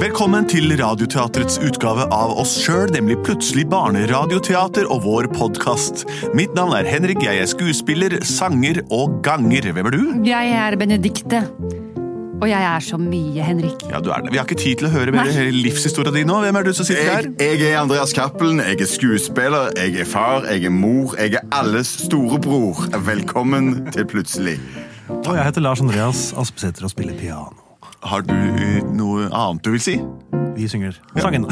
Velkommen til Radioteatrets utgave av oss sjøl, nemlig Plutselig barneradioteater og vår podkast. Mitt navn er Henrik, jeg er skuespiller, sanger og ganger. Hvem er du? Jeg er Benedikte. Og jeg er så mye, Henrik. Ja, du er det. Vi har ikke tid til å høre mer livshistoria di nå. Hvem er du som sitter Jeg, der? jeg er Andreas Cappelen, jeg er skuespiller, jeg er far, jeg er mor, jeg er alles storebror. Velkommen til Plutselig. Og jeg heter Lars Andreas Aspesæter og spiller piano. Har du eh, noe annet du vil si? Vi synger sangen.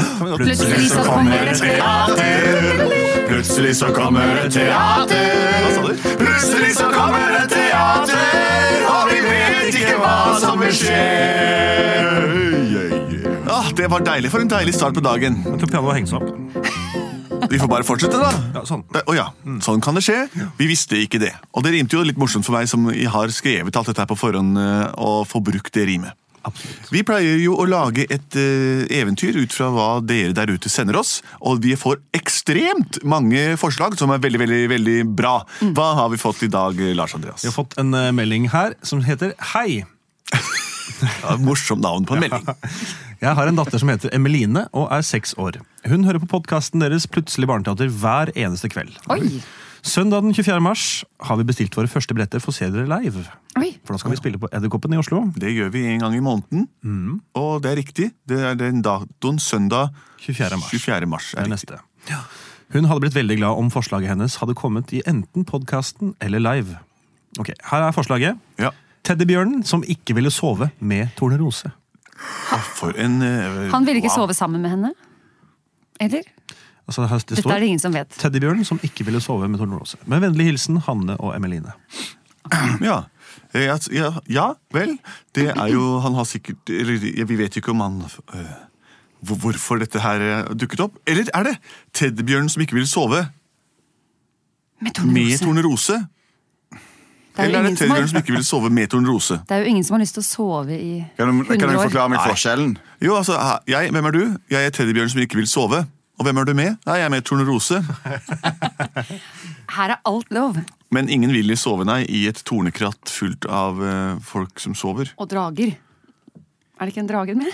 Plutselig så kommer et teater, plutselig så kommer det teater. Hva sa du? Plutselig så kommer det teater, og vi vet ikke hva som vil skje. Ah, det var deilig. For en deilig start på dagen. Jeg tror pianoet henges opp. Vi får bare fortsette, da. Ja, sånn. Å ja, sånn kan det skje. Vi visste ikke det. Og det rimte jo litt morsomt for meg som har skrevet alt dette her på forhånd, eh, å få brukt det rimet. Absolutt. Vi pleier jo å lage et eh, eventyr ut fra hva dere der ute sender oss, og vi får ekstremt mange forslag som er veldig, veldig, veldig bra. Mm. Hva har vi fått i dag, eh, Lars Andreas? Vi har fått en eh, melding her som heter Hei. Ja, Morsomt navn på en melding. Jeg har en datter som heter Emeline og er seks år. Hun hører på podkasten deres Plutselig barneteater hver eneste kveld. Oi! Søndag den 24. mars har vi bestilt våre første billetter for Se dere live. Oi. For da skal vi spille på Edderkoppen i Oslo. Det gjør vi en gang i måneden, Mm. og det er riktig. Det er den datoen søndag 24. mars. 24. mars er er riktig. neste. Hun hadde blitt veldig glad om forslaget hennes hadde kommet i enten podkasten eller live. Ok, Her er forslaget. Ja. Teddybjørnen som ikke ville sove med Tornerose. Ah, For en eh, Han ville ikke wow. sove sammen med henne? Eller? Altså, her det Dette er står det ingen som vet. Teddybjørnen som ikke ville sove med Tornerose. Med vennlig hilsen Hanne og Emeline. Ja. Eh, Ja, ja, ja vel. Det er jo Han har sikkert Eller ja, vi vet jo ikke om han øh, hvor- Hvorfor dette her eh, dukket opp. Eller er det teddybjørnen som ikke vil sove Med med tornerose. tornerose? Det er, Eller jo er det ingen som teddybjørnen som har, ikke vil sove med tornerose? det er jo ingen som har lyst til å sove i Kan du, kan 100 du år. forklare meg Nei. forskjellen? Jo, altså, ha- jeg, hvem er du? Jeg er teddybjørnen som ikke vil sove. Og hvem er du med? Nei, jeg er med tornerose. Her er alt lov. Men ingen vil sove, nei, i et tornekratt fullt av eh, folk som sover. Og drager. Er det ikke en drage med?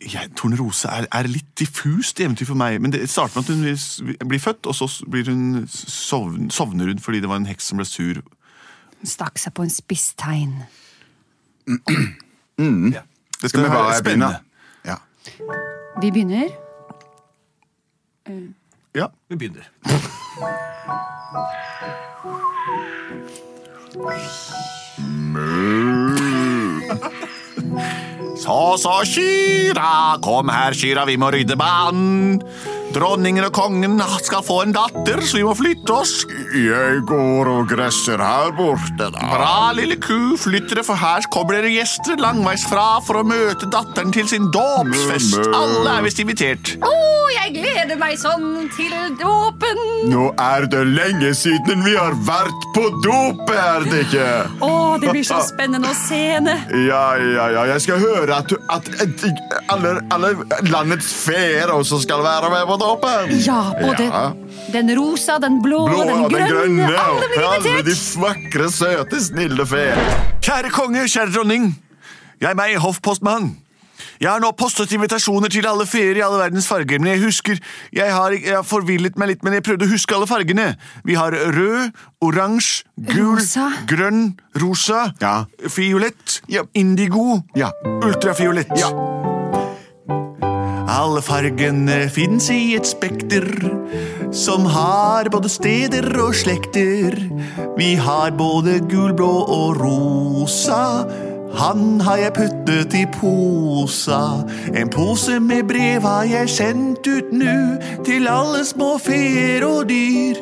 jeg, Tornerose er, er litt diffust eventyr for meg. Men det starter med at hun s- blir født, og så s- blir hun sovn, sovner hun fordi det var en heks som ble sur. Hun stakk seg på en spisstein. Mm. Dette Skal vi her bare er begynne? spennende. Ja. Vi begynner. Ja. Vi begynner. Så, så, Kyra, kom her, Kyra, vi må rydde banen. Dronningen og kongen skal få en datter, så vi må flytte oss. Jeg går og gresser her borte, da. Bra, lille ku, flytt dere, for her kommer dere gjester langveisfra for å møte datteren til sin dåpsfest. Alle er visst invitert. Å, jeg gleder meg sånn til dåpen! Nå er det lenge siden vi har vært på dopet, er det ikke? Å, det blir så spennende å se henne! Ja, ja, ja. Jeg skal høre at, at, at alle, alle landets feer også skal være med på dåpen. Ja, både Ja. den rosa, den blå, Blå, den grønne. Alle og blir alle de invitert! vakre, søte, snille feer. Kjære konge, kjære dronning. Jeg er meg, hoffpostmann. Jeg har nå postet invitasjoner til alle feer i alle verdens farger, men jeg husker Jeg har, jeg har forvillet meg litt, men jeg prøvde å huske alle fargene. Vi har rød, oransje, gul, Rosa. grønn, rosa, Ja. fiolett, Ja. indigo, Ja. ultrafiolett. Ja. Alle fargene fins i et spekter som har både steder og slekter. Vi har både gul, blå og rosa. Han har jeg puttet i posa. En pose med brev har jeg sendt ut nu til alle små feer og dyr.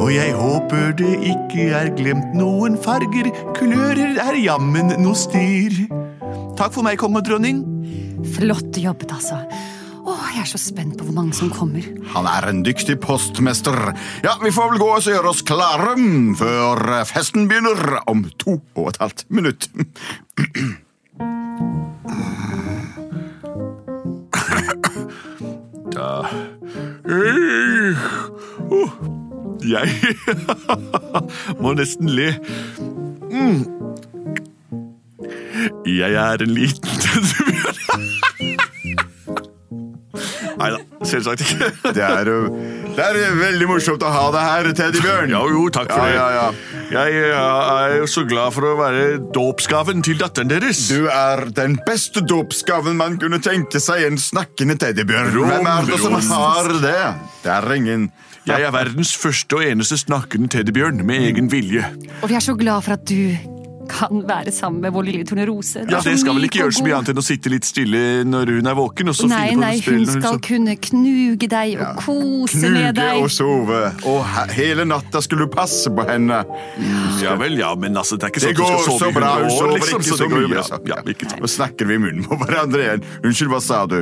Og jeg håper det ikke er glemt noen farger, kulører er jammen noe styr. Takk for meg, konge og dronning. Flott jobbet, altså. Å, jeg er så spent på hvor mange som kommer. Han er en dyktig postmester. Ja, Vi får vel gå og gjøre oss klare mm, før eh, festen begynner om to og et halvt minutt. Øh, uh, Jeg må nesten le. Mm. Jeg er en liten teddybjørn. Selvsagt ikke. Det er, jo- det er veldig morsomt å ha deg her, Teddybjørn. Ja, jo, takk for ja, ja, ja. det. Jeg eh, er jo så glad for å være dåpsgaven til datteren deres. Du er den beste dåpsgaven man kunne tenke seg, en snakkende teddybjørn. Rom, Hvem er det som rom. har det? Det er ingen. Jeg er verdens første og eneste snakkende teddybjørn med egen vilje. Og vi er så glad for at du kan være sammen med vår lille Tornerose. Du Ja, er så Det skal vel myk ikke og gjøre så mye god. annet enn å sitte litt stille når hun er våken. og så Nei, finne på nei, noe spill hun når skal så- kunne knuge deg og kose med Knuge deg. og sove. Og he- hele natta skulle du passe på henne. Ja vel, ja, men altså, det er ikke sånn Det at du går skal så sove i bra, hun 100 år, sover liksom. ikke Så så det går jo mye. bra. altså. Ja, ikke sant. Nå snakker vi i munnen på hverandre igjen. Unnskyld, hva sa du?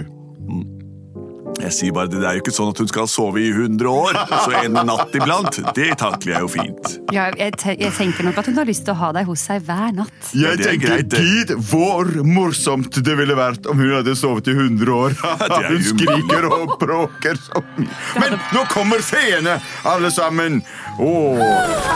Jeg sier bare, Det er jo ikke sånn at hun skal sove i 100 år, så en natt iblant. Det takler jeg jo fint. Ja, jeg, te jeg tenker nok at hun har lyst til å ha deg hos seg hver natt. Ja, Jeg det er tenker, greit, det. Gid, hvor morsomt det ville vært om hun hadde sovet i 100 år. det er Hun jo- skriker og bråker så mye. Men nå kommer feene, alle sammen. Åh.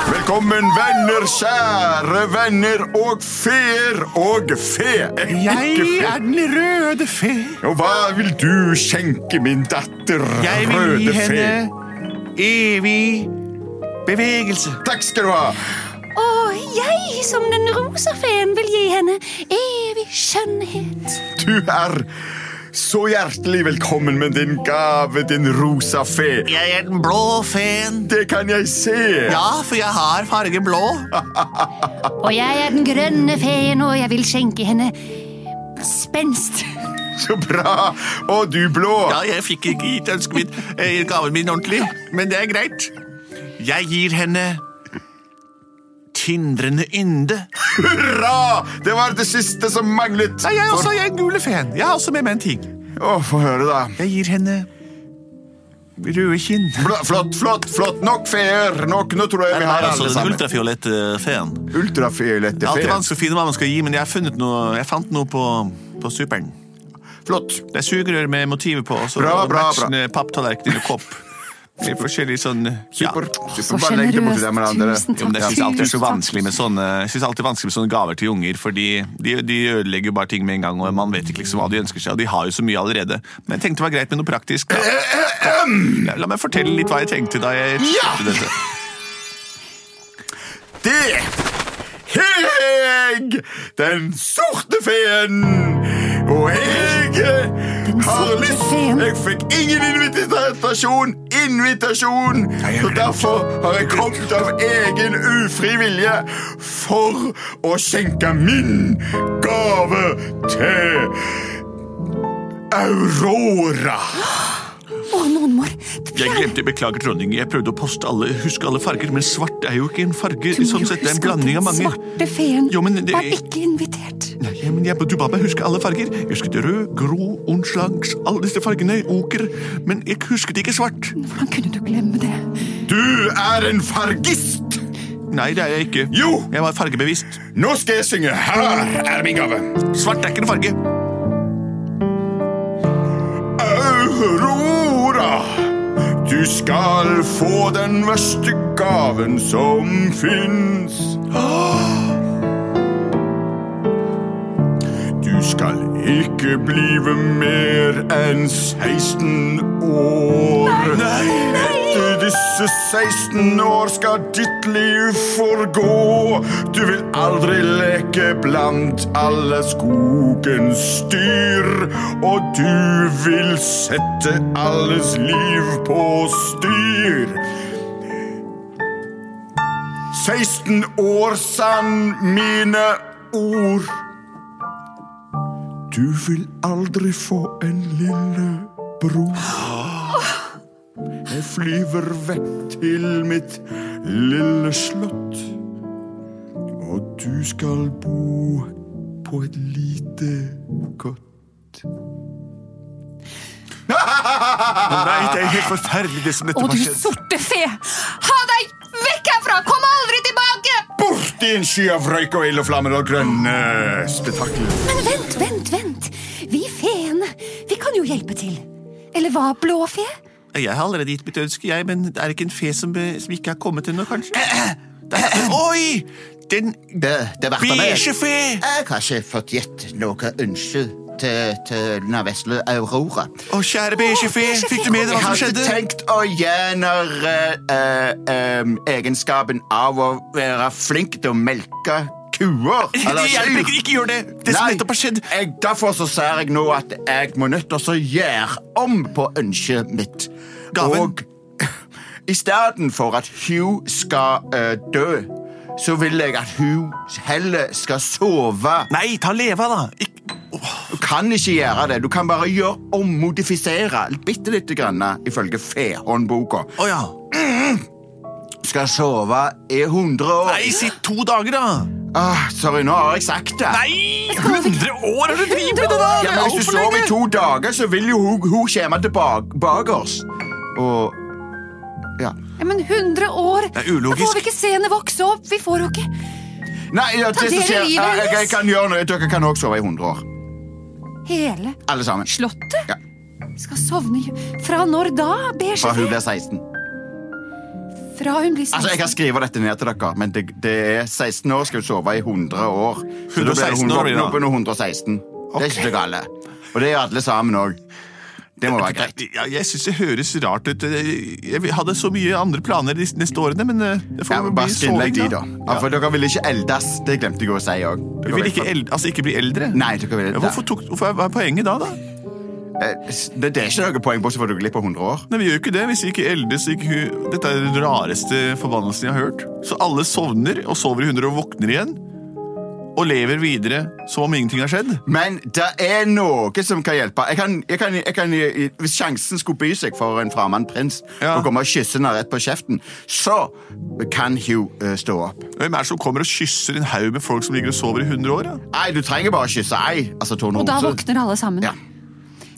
Velkommen, venner, kjære venner og feer og fe. Ikke fe. den røde fe. Og hva vil du skjenke min datter, røde fe? evig bevegelse. Takk skal du ha. Og jeg som den rosa feen vil gi henne evig skjønnhet. Du er så hjertelig velkommen med din gave, din rosa fe. Jeg er den blå feen. Det kan jeg se. Ja, for jeg har fargen blå. Og jeg er den grønne feen, og jeg vil skjenke henne spenst. Så bra! Og du blå. Ja, jeg fikk ikke gitt ønsket mitt, eh, gaven min ordentlig, men det er greit. Jeg gir henne tindrende ynde. Hurra! Det var det siste som manglet. Nei, jeg, også, jeg er den gule feen. Jeg er også med meg en ting. Å, Få høre, da. Jeg gir henne røde kinn. Bla, flott, flott, flott. Nok feer. Nok. Nå tror jeg vi har alle sammen. eh, ultrafiolette feen. Ultrafiolette Alltid feer. vanskelig å finne hva man skal gi, men jeg, har funnet noe, jeg fant noe på, på superen. Flott. Det er sugerør med motivet på, og så eh, Bra, bra, bra. matchende papptallerkener og kopp. Med forskjellige sånn Super. Så Super. Bare legg det borti der med hverandre. sjenerøst. Jo, Tusen men takk. jeg syns alltid det er så tusen takk. vanskelig med sånne, jeg synes alltid det er vanskelig med sånne gaver til unger, fordi de, de ødelegger jo bare ting med en gang, og man vet ikke liksom hva de ønsker seg, og de har jo så mye allerede. Men jeg tenkte det var greit med noe praktisk. Da. Ja, La meg fortelle litt hva jeg tenkte da jeg Ja! kjøpte dette. Det jeg, den sorte feen. Og jeg har sorte lyst feen. Jeg fikk ingen invitasjon! Invitasjon! Så derfor har jeg kommet av egen ufri vilje for å skjenke min gave til Aurora. Å, mormor. Jeg glemte, beklager dronning, jeg prøvde å poste alle, huske alle farger, men svart er jo ikke en farge, sånn sett, det er en blanding av mange. svarte feen Jo, men det- var ikke invitert. Nei, ja, men jeg, du ba meg huske alle farger. Jeg husket rød, grå, ondslags, alle disse fargene, oker, men jeg husket ikke svart. Hvordan kunne du glemme det? Du er en fargist! Nei, det er jeg ikke. Jo! Jeg var fargebevisst. Nå skal jeg synge. Her er min gave. Svart er ikke en farge. Aurora, du skal få den verste gaven som fins. Du skal ikke blive mer enn 16 år. Etter disse 16 år skal ditt liv forgå. Du vil aldri leke blant alle skogens dyr. Og du vil sette alles liv på styr. 16 år sann mine ord. Du vil aldri få en lille bror. Jeg flyver vekk til mitt lille slott. Og du skal bo på et lite kott. Nei, det er helt forferdelig det som Å, nettopp du har skjedd. sorte fe! Ha deg vekk herfra! Kom aldri tilbake! Bort i en sky av røyk og ild og flammer og grønne spetakler. Men vent, vent, vent. Vi feene, vi kan jo hjelpe til. Eller hva, blå fe? Jeg har allerede gitt mitt ønske, jeg, men det er ikke en fe som, eh, som ikke har kommet ennå, kanskje? Det er- Oi! Den Det, det verste med beige fe! Jeg har ikke fått gitt noe ønske. til, til den vesle Aurora. Å, kjære bikkjefe, fikk du med deg hva Jeg som hadde skjedde? tenkt å gjenere eh, eh, egenskapen av å være flink til å melke kuer. Det hjelper kyr. ikke, ikke gjør det! Det som Nei, nettopp har skjedd. Jeg, derfor så ser jeg nå at jeg må nødt til å gjøre om på ønsket mitt. Gaven. Og i stedet for at Hugh skal eh, dø, så vil jeg at Hugh heller skal sove. Nei, ta leva, da. Ikk- Du kan ikke gjøre det. Du kan bare gjøre om, modifisere bitte lite grann, ifølge fehåndboka. Å ja. Skal sove i 100 år. Nei, si to dager, da. Ah, sorry, nå har jeg sagt det. Nei! 100 år har du drevet med det der! Ja, men hvis du sover i to dager, så vil jo hun, hun komme tilbake bak oss. Og Ja. Ja, men 100 år! Det er ulogisk. Da får vi ikke se henne vokse opp! Vi får jo ikke Nei, ja, Ta det som del i skjer livet ja, jeg, jeg hennes. kan gjøre noe. Dere kan også sove i 100 år. hele Alle sammen. Slottet? Ja. Skal sovne i Fra når da? Beige Fra hun blir 16. Fra hun blir 16. Altså, Jeg kan skrive dette ned til dere, men det, det er 16 år skal hun sove i 100 år. Så da blir 116 hun år blir det da. våkne opp under 116. Det er ikke så gale. Og det er alle sammen òg. Det må være greit. Ja, jeg syns det høres rart ut. Eh, Jeg hadde så mye andre planer de neste årene, men eh, det får Ja, men bli bare soving, skrinlegg de, da. Ja, Ja. for Dere vil ikke eldes. Det glemte jeg å si òg. Du vil ikke, eld, altså, ikke bli eldre? Nei, dere vil Ja, hvorfor, tok, hvorfor er- hva er poenget da? da? Eh, Det, det er ikke noe poeng, bortsett fra at du glipper 100 år. Nei, Vi gjør jo ikke det. Hvis vi ikke eldes så ikke hu- Dette er den rareste forbannelsen jeg har hørt. Så alle sovner og sover i 100 og våkner igjen. Og lever videre som om ingenting har skjedd. Men det er noe som kan hjelpe. Jeg kan, jeg kan, jeg kan, hvis sjansen skulle by seg for en fremmed prins Ja. å komme og kysse henne rett på kjeften, så kan Hugh eh, stå opp. Hvem er det som kommer og kysser en haug med folk som ligger og sover i 100 år? Da? Nei, du trenger bare å kysse ei. Altså Tone Og da Rose. våkner alle sammen. Ja.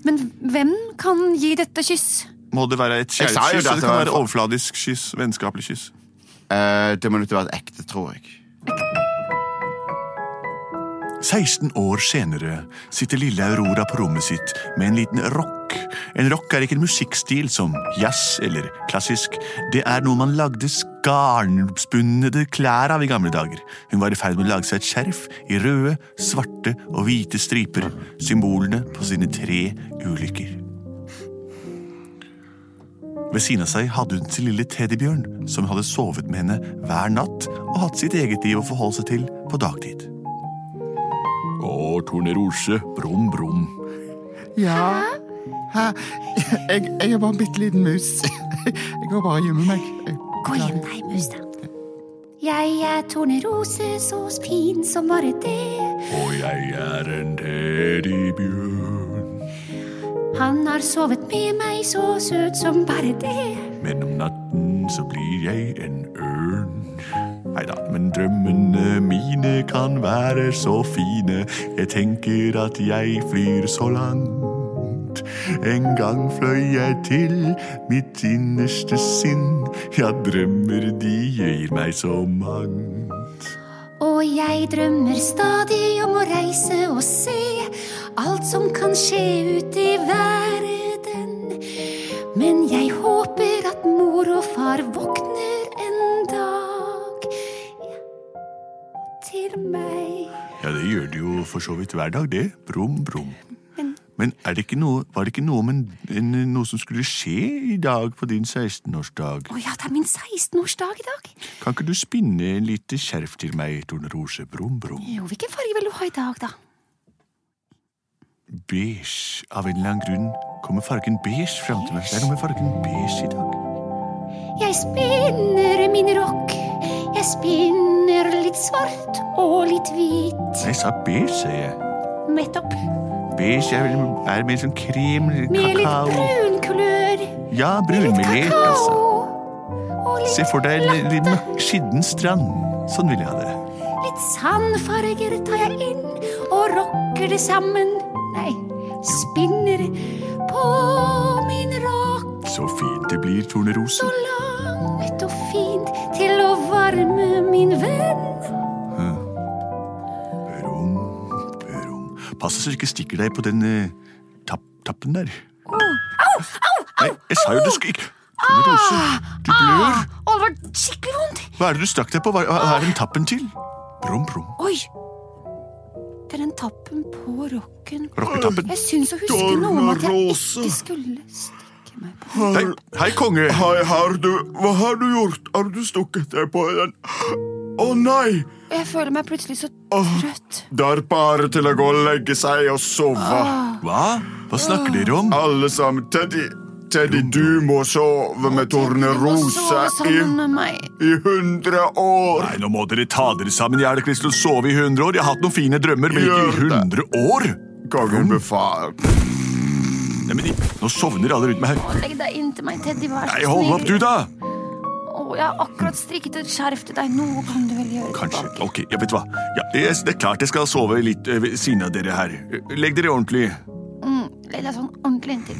Men hvem kan gi dette kyss? Må det være et Jeg sa kjærlighetskyss? jo det at eller det kan var- det være overfladisk kyss? Vennskapelig kyss? Eh, det må nødt til å være ekte, tror jeg. 16 år senere sitter lille Aurora på rommet sitt med en liten rock. En rock er ikke en musikkstil som jazz eller klassisk. Det er noe man lagde garnspunnede klær av i gamle dager. Hun var i ferd med å lage seg et skjerf i røde, svarte og hvite striper. Symbolene på sine tre ulykker. Ved siden av seg hadde hun sin lille teddybjørn, som hadde sovet med henne hver natt og hatt sitt eget liv å forholde seg til på dagtid. Å, Tornerose. Brum, brum. Ja. Jeg, er bare en bitte liten mus. Jeg går bare og gjemmer meg. Gå hjem, deg, mus, da. Jeg er tornerose, så fin som bare det. Og jeg er en teddybjørn. Han har sovet med meg, så søt som bare det. Men om natten så blir jeg en ørn. Nei da, men drømmene mine kan være så fine. Jeg tenker at jeg flyr så langt. En gang fløy jeg til mitt innerste sinn. Ja, drømmer de gir meg så mangt. Og jeg drømmer stadig om å reise og se alt som kan skje ute i verden. Men jeg håper at mor og far våkner en dag ja, til meg. Ja, det gjør det jo for så vidt hver dag, det. Brum, brum. Men er det ikke noe, var det ikke noe, om en, en, noe som skulle skje i dag på din 16-årsdag? Å ja, det er min 16-årsdag i dag. Kan ikke du spinne en lite skjerf til meg, Tornerose? Brum, brum. Jo, hvilken farge vil du ha i dag, da? Beige. Av en eller annen grunn kommer fargen beige fram til meg. Det er noe med fargen beige i dag. Jeg spinner min rokk. Jeg spinner litt svart og litt hvit. Jeg sa beige, sa jeg. Nettopp. Beige er, vel, er mer sånn krem, Med litt kakao brun kulør. Ja, Litt brunmelé, kakao. altså. Og litt, Se for deg en liten skidden strand. Sånn vil jeg ha det. litt sandfarger tar jeg inn og rocker det sammen. Nei, spinner på min rock Så fint det blir, Tornerose. så langt og fint til å varme min venn. Brum, brum. Pass deg så du ikke stikker deg på den eh, tapp, tappen der. Au, au, au! Nei, jeg sa jo du skulle ikke Tornerose, du blør. Ah, å, det var skikkelig vondt. Hva er det du stakk deg på? Hva hva er den tappen til? Brum, brum. Oi. etter den tappen på rocken. Rocketappen. Jeg syns å huske noe om at jeg Rose. ikke skulle stikke meg på Har, Hei, hei, konge. hei, har du, hva har du gjort? Har du stukket deg på den? Å nei! Og jeg føler meg plutselig så trøtt. Det er bare til å gå og legge seg og sove. Hva? Hva snakker dere om? Alle sammen. Teddy, Teddy du må sove med sove tornerose i, sammen med meg. i 100 år. Nei, nå må dere ta dere sammen. Jeg hadde ikke lyst til å sove i 100 år. Jeg har hatt noen fine drømmer, men ikke i Gjør 100 år. Kongen befaler. Nei, men i- Nå sovner alle rundt meg her. Legg deg inntil meg, Teddy. Vær så Nei, hold opp, du, da! Å, jeg har akkurat strikket et skjerf til deg. Noe kan du vel gjøre Kanskje. tilbake. Ok, ja, vet du hva. Ja, jeg- det er klart jeg skal sove litt eh, ved siden av dere her. Eh, Legg dere ordentlig. Mm, legg deg sånn ordentlig inntil.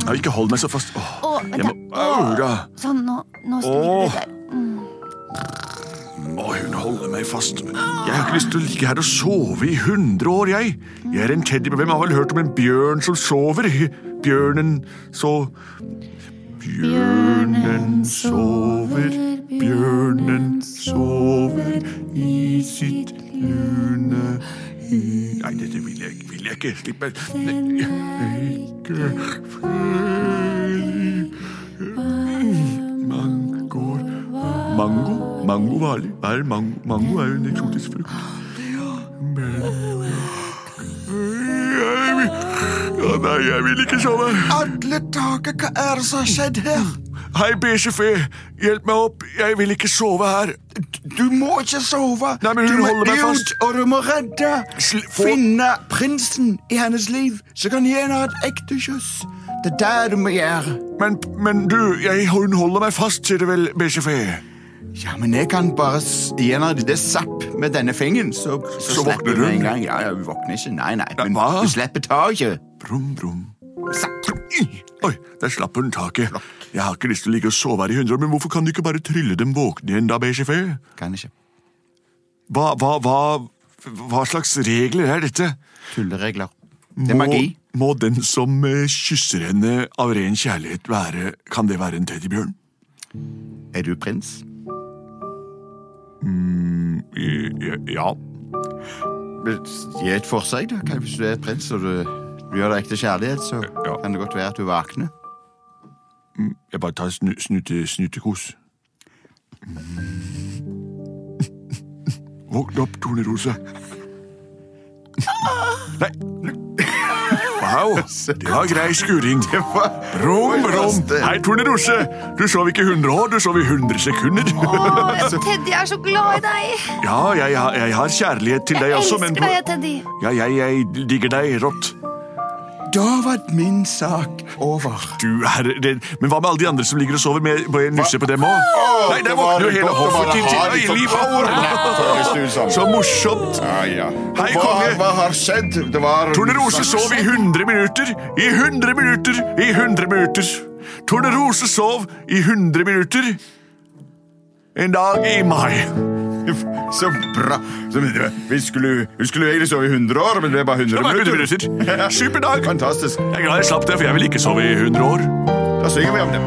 Ja, ikke hold meg så fast. Åh, Å, vent, jeg da. må... Au, da. Sånn, nå, nå snur Åh. du deg. Å, hun holder meg fast. Men jeg har ikke lyst til å ligge her og sove i 100 år, jeg. Jeg er en teddybjørn. Hvem har vel hørt om en bjørn som sover? Bjørnen så Bjørnen sover, bjørnen sover i sitt lune hy. Nei, dette vil jeg, vil jeg ikke. Slipp meg. Nei, Ikke fri. Man går Mango? Mango varlig? Er mango, mango er jo en eksotisk frukt. Men jeg vil, ja, Nei, jeg vil ikke sove. Alle dager, hva er det som har skjedd her? Hei, beige fe. Hjelp meg opp. Jeg vil ikke sove her. Du må ikke sove. Nei, men hun du må holder meg ut, fast. Og du må redde. Sl- få- Finne prinsen i hennes liv, så kan gi henne et ekte kyss. Det er det du må gjøre. Men, men du, jeg, hun holder meg fast, sier du vel, E. beige fe. Ja, men jeg kan bare s- gi henne det zapp med denne fingeren, så, så, slipper våkner med hun. en gang. Ja, ja, hun våkner ikke. Nei, nei. Ja, Men hva? hun slipper taket. Brum, brum. Zapp. Oi, der slapp hun taket. Jeg har ikke lyst til å ligge og sove her i hundre år, men hvorfor kan du ikke bare trylle dem våkne igjen da, beige fe? Kan ikke. Hva, hva, hva, hva slags regler er dette? Tulleregler. Det er magi. Må, må den som eh, kysser henne av ren kjærlighet være Kan det være en teddybjørn? Er du prins? I- i- Ja. Men Gi et forsøk, da. Kan- Hvis du er prins og du, du gjør det ekte kjærlighet, så Ja. kan det godt være at du våkner. Jeg bare tar snu, snute, snutekos. Våkn opp, Tornerose. Nei Wow, det var grei skuring. Brum, brum. Hei, Tornerose. Du sov ikke i 100 år, du sov i 100 sekunder. Å, Teddy jeg er så glad i deg! Ja, jeg, har- jeg har kjærlighet til deg Jeg også, men elsker deg, Teddy. ja, jeg, jeg digger deg rått. Da var min sak over. Du er redd. Men hva med alle de andre som ligger og sover? Med, må jeg nusse på dem òg? Nei, der det var våkner jo hele godt å hoffet bare til ha de til i livet! forpårene. Så morsomt! Ja, ja. Hei, hva, konge. hva har skjedd? Det var Tornerose sov i 100 minutter, i 100 minutter, i 100 minutter. Tornerose sov i 100 minutter. En dag i mai. Så bra. Så, men, det- vi, skulle, vi skulle jo egentlig sove i 100 år, men det er bare 100 Det var 100 minutter. minutter. Superdag. Fantastisk. Jeg er glad jeg slapp det, for jeg vil ikke sove i 100 år. Da synger vi om det.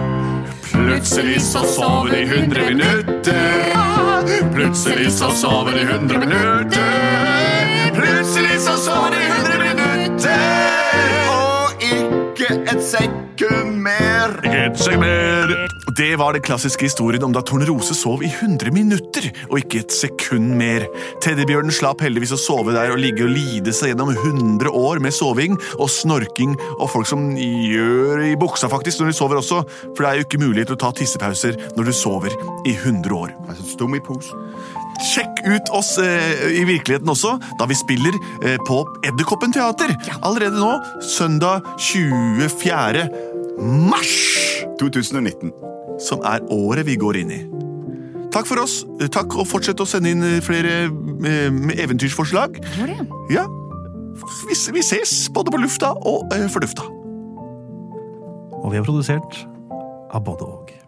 Plutselig så sover de 100 minutter. Plutselig så sover de 100 minutter. Plutselig så sover de 100 minutter. Og ikke et sekund mer. Et seg mer. Det var den klassiske historien om da Tornerose sov i 100 minutter og ikke et sekund mer. Teddybjørnen slapp heldigvis å sove der og ligge og lide seg gjennom 100 år med soving og snorking og folk som gjør i buksa faktisk når de sover også, for det er jo ikke mulighet til å ta tissepauser når du sover i 100 år. Altså, stum i posen. Sjekk ut oss eh, i virkeligheten også, da vi spiller eh, på Edderkoppen teater. Allerede nå, søndag 24. mars, 2019. som er året vi går inn i. Takk for oss. Eh, Takk, og fortsett å sende inn eh, flere eh, med eventyrforslag. Hvor er det? Ja, vi, vi ses både på lufta og eh, for lufta. Og vi er produsert av både og.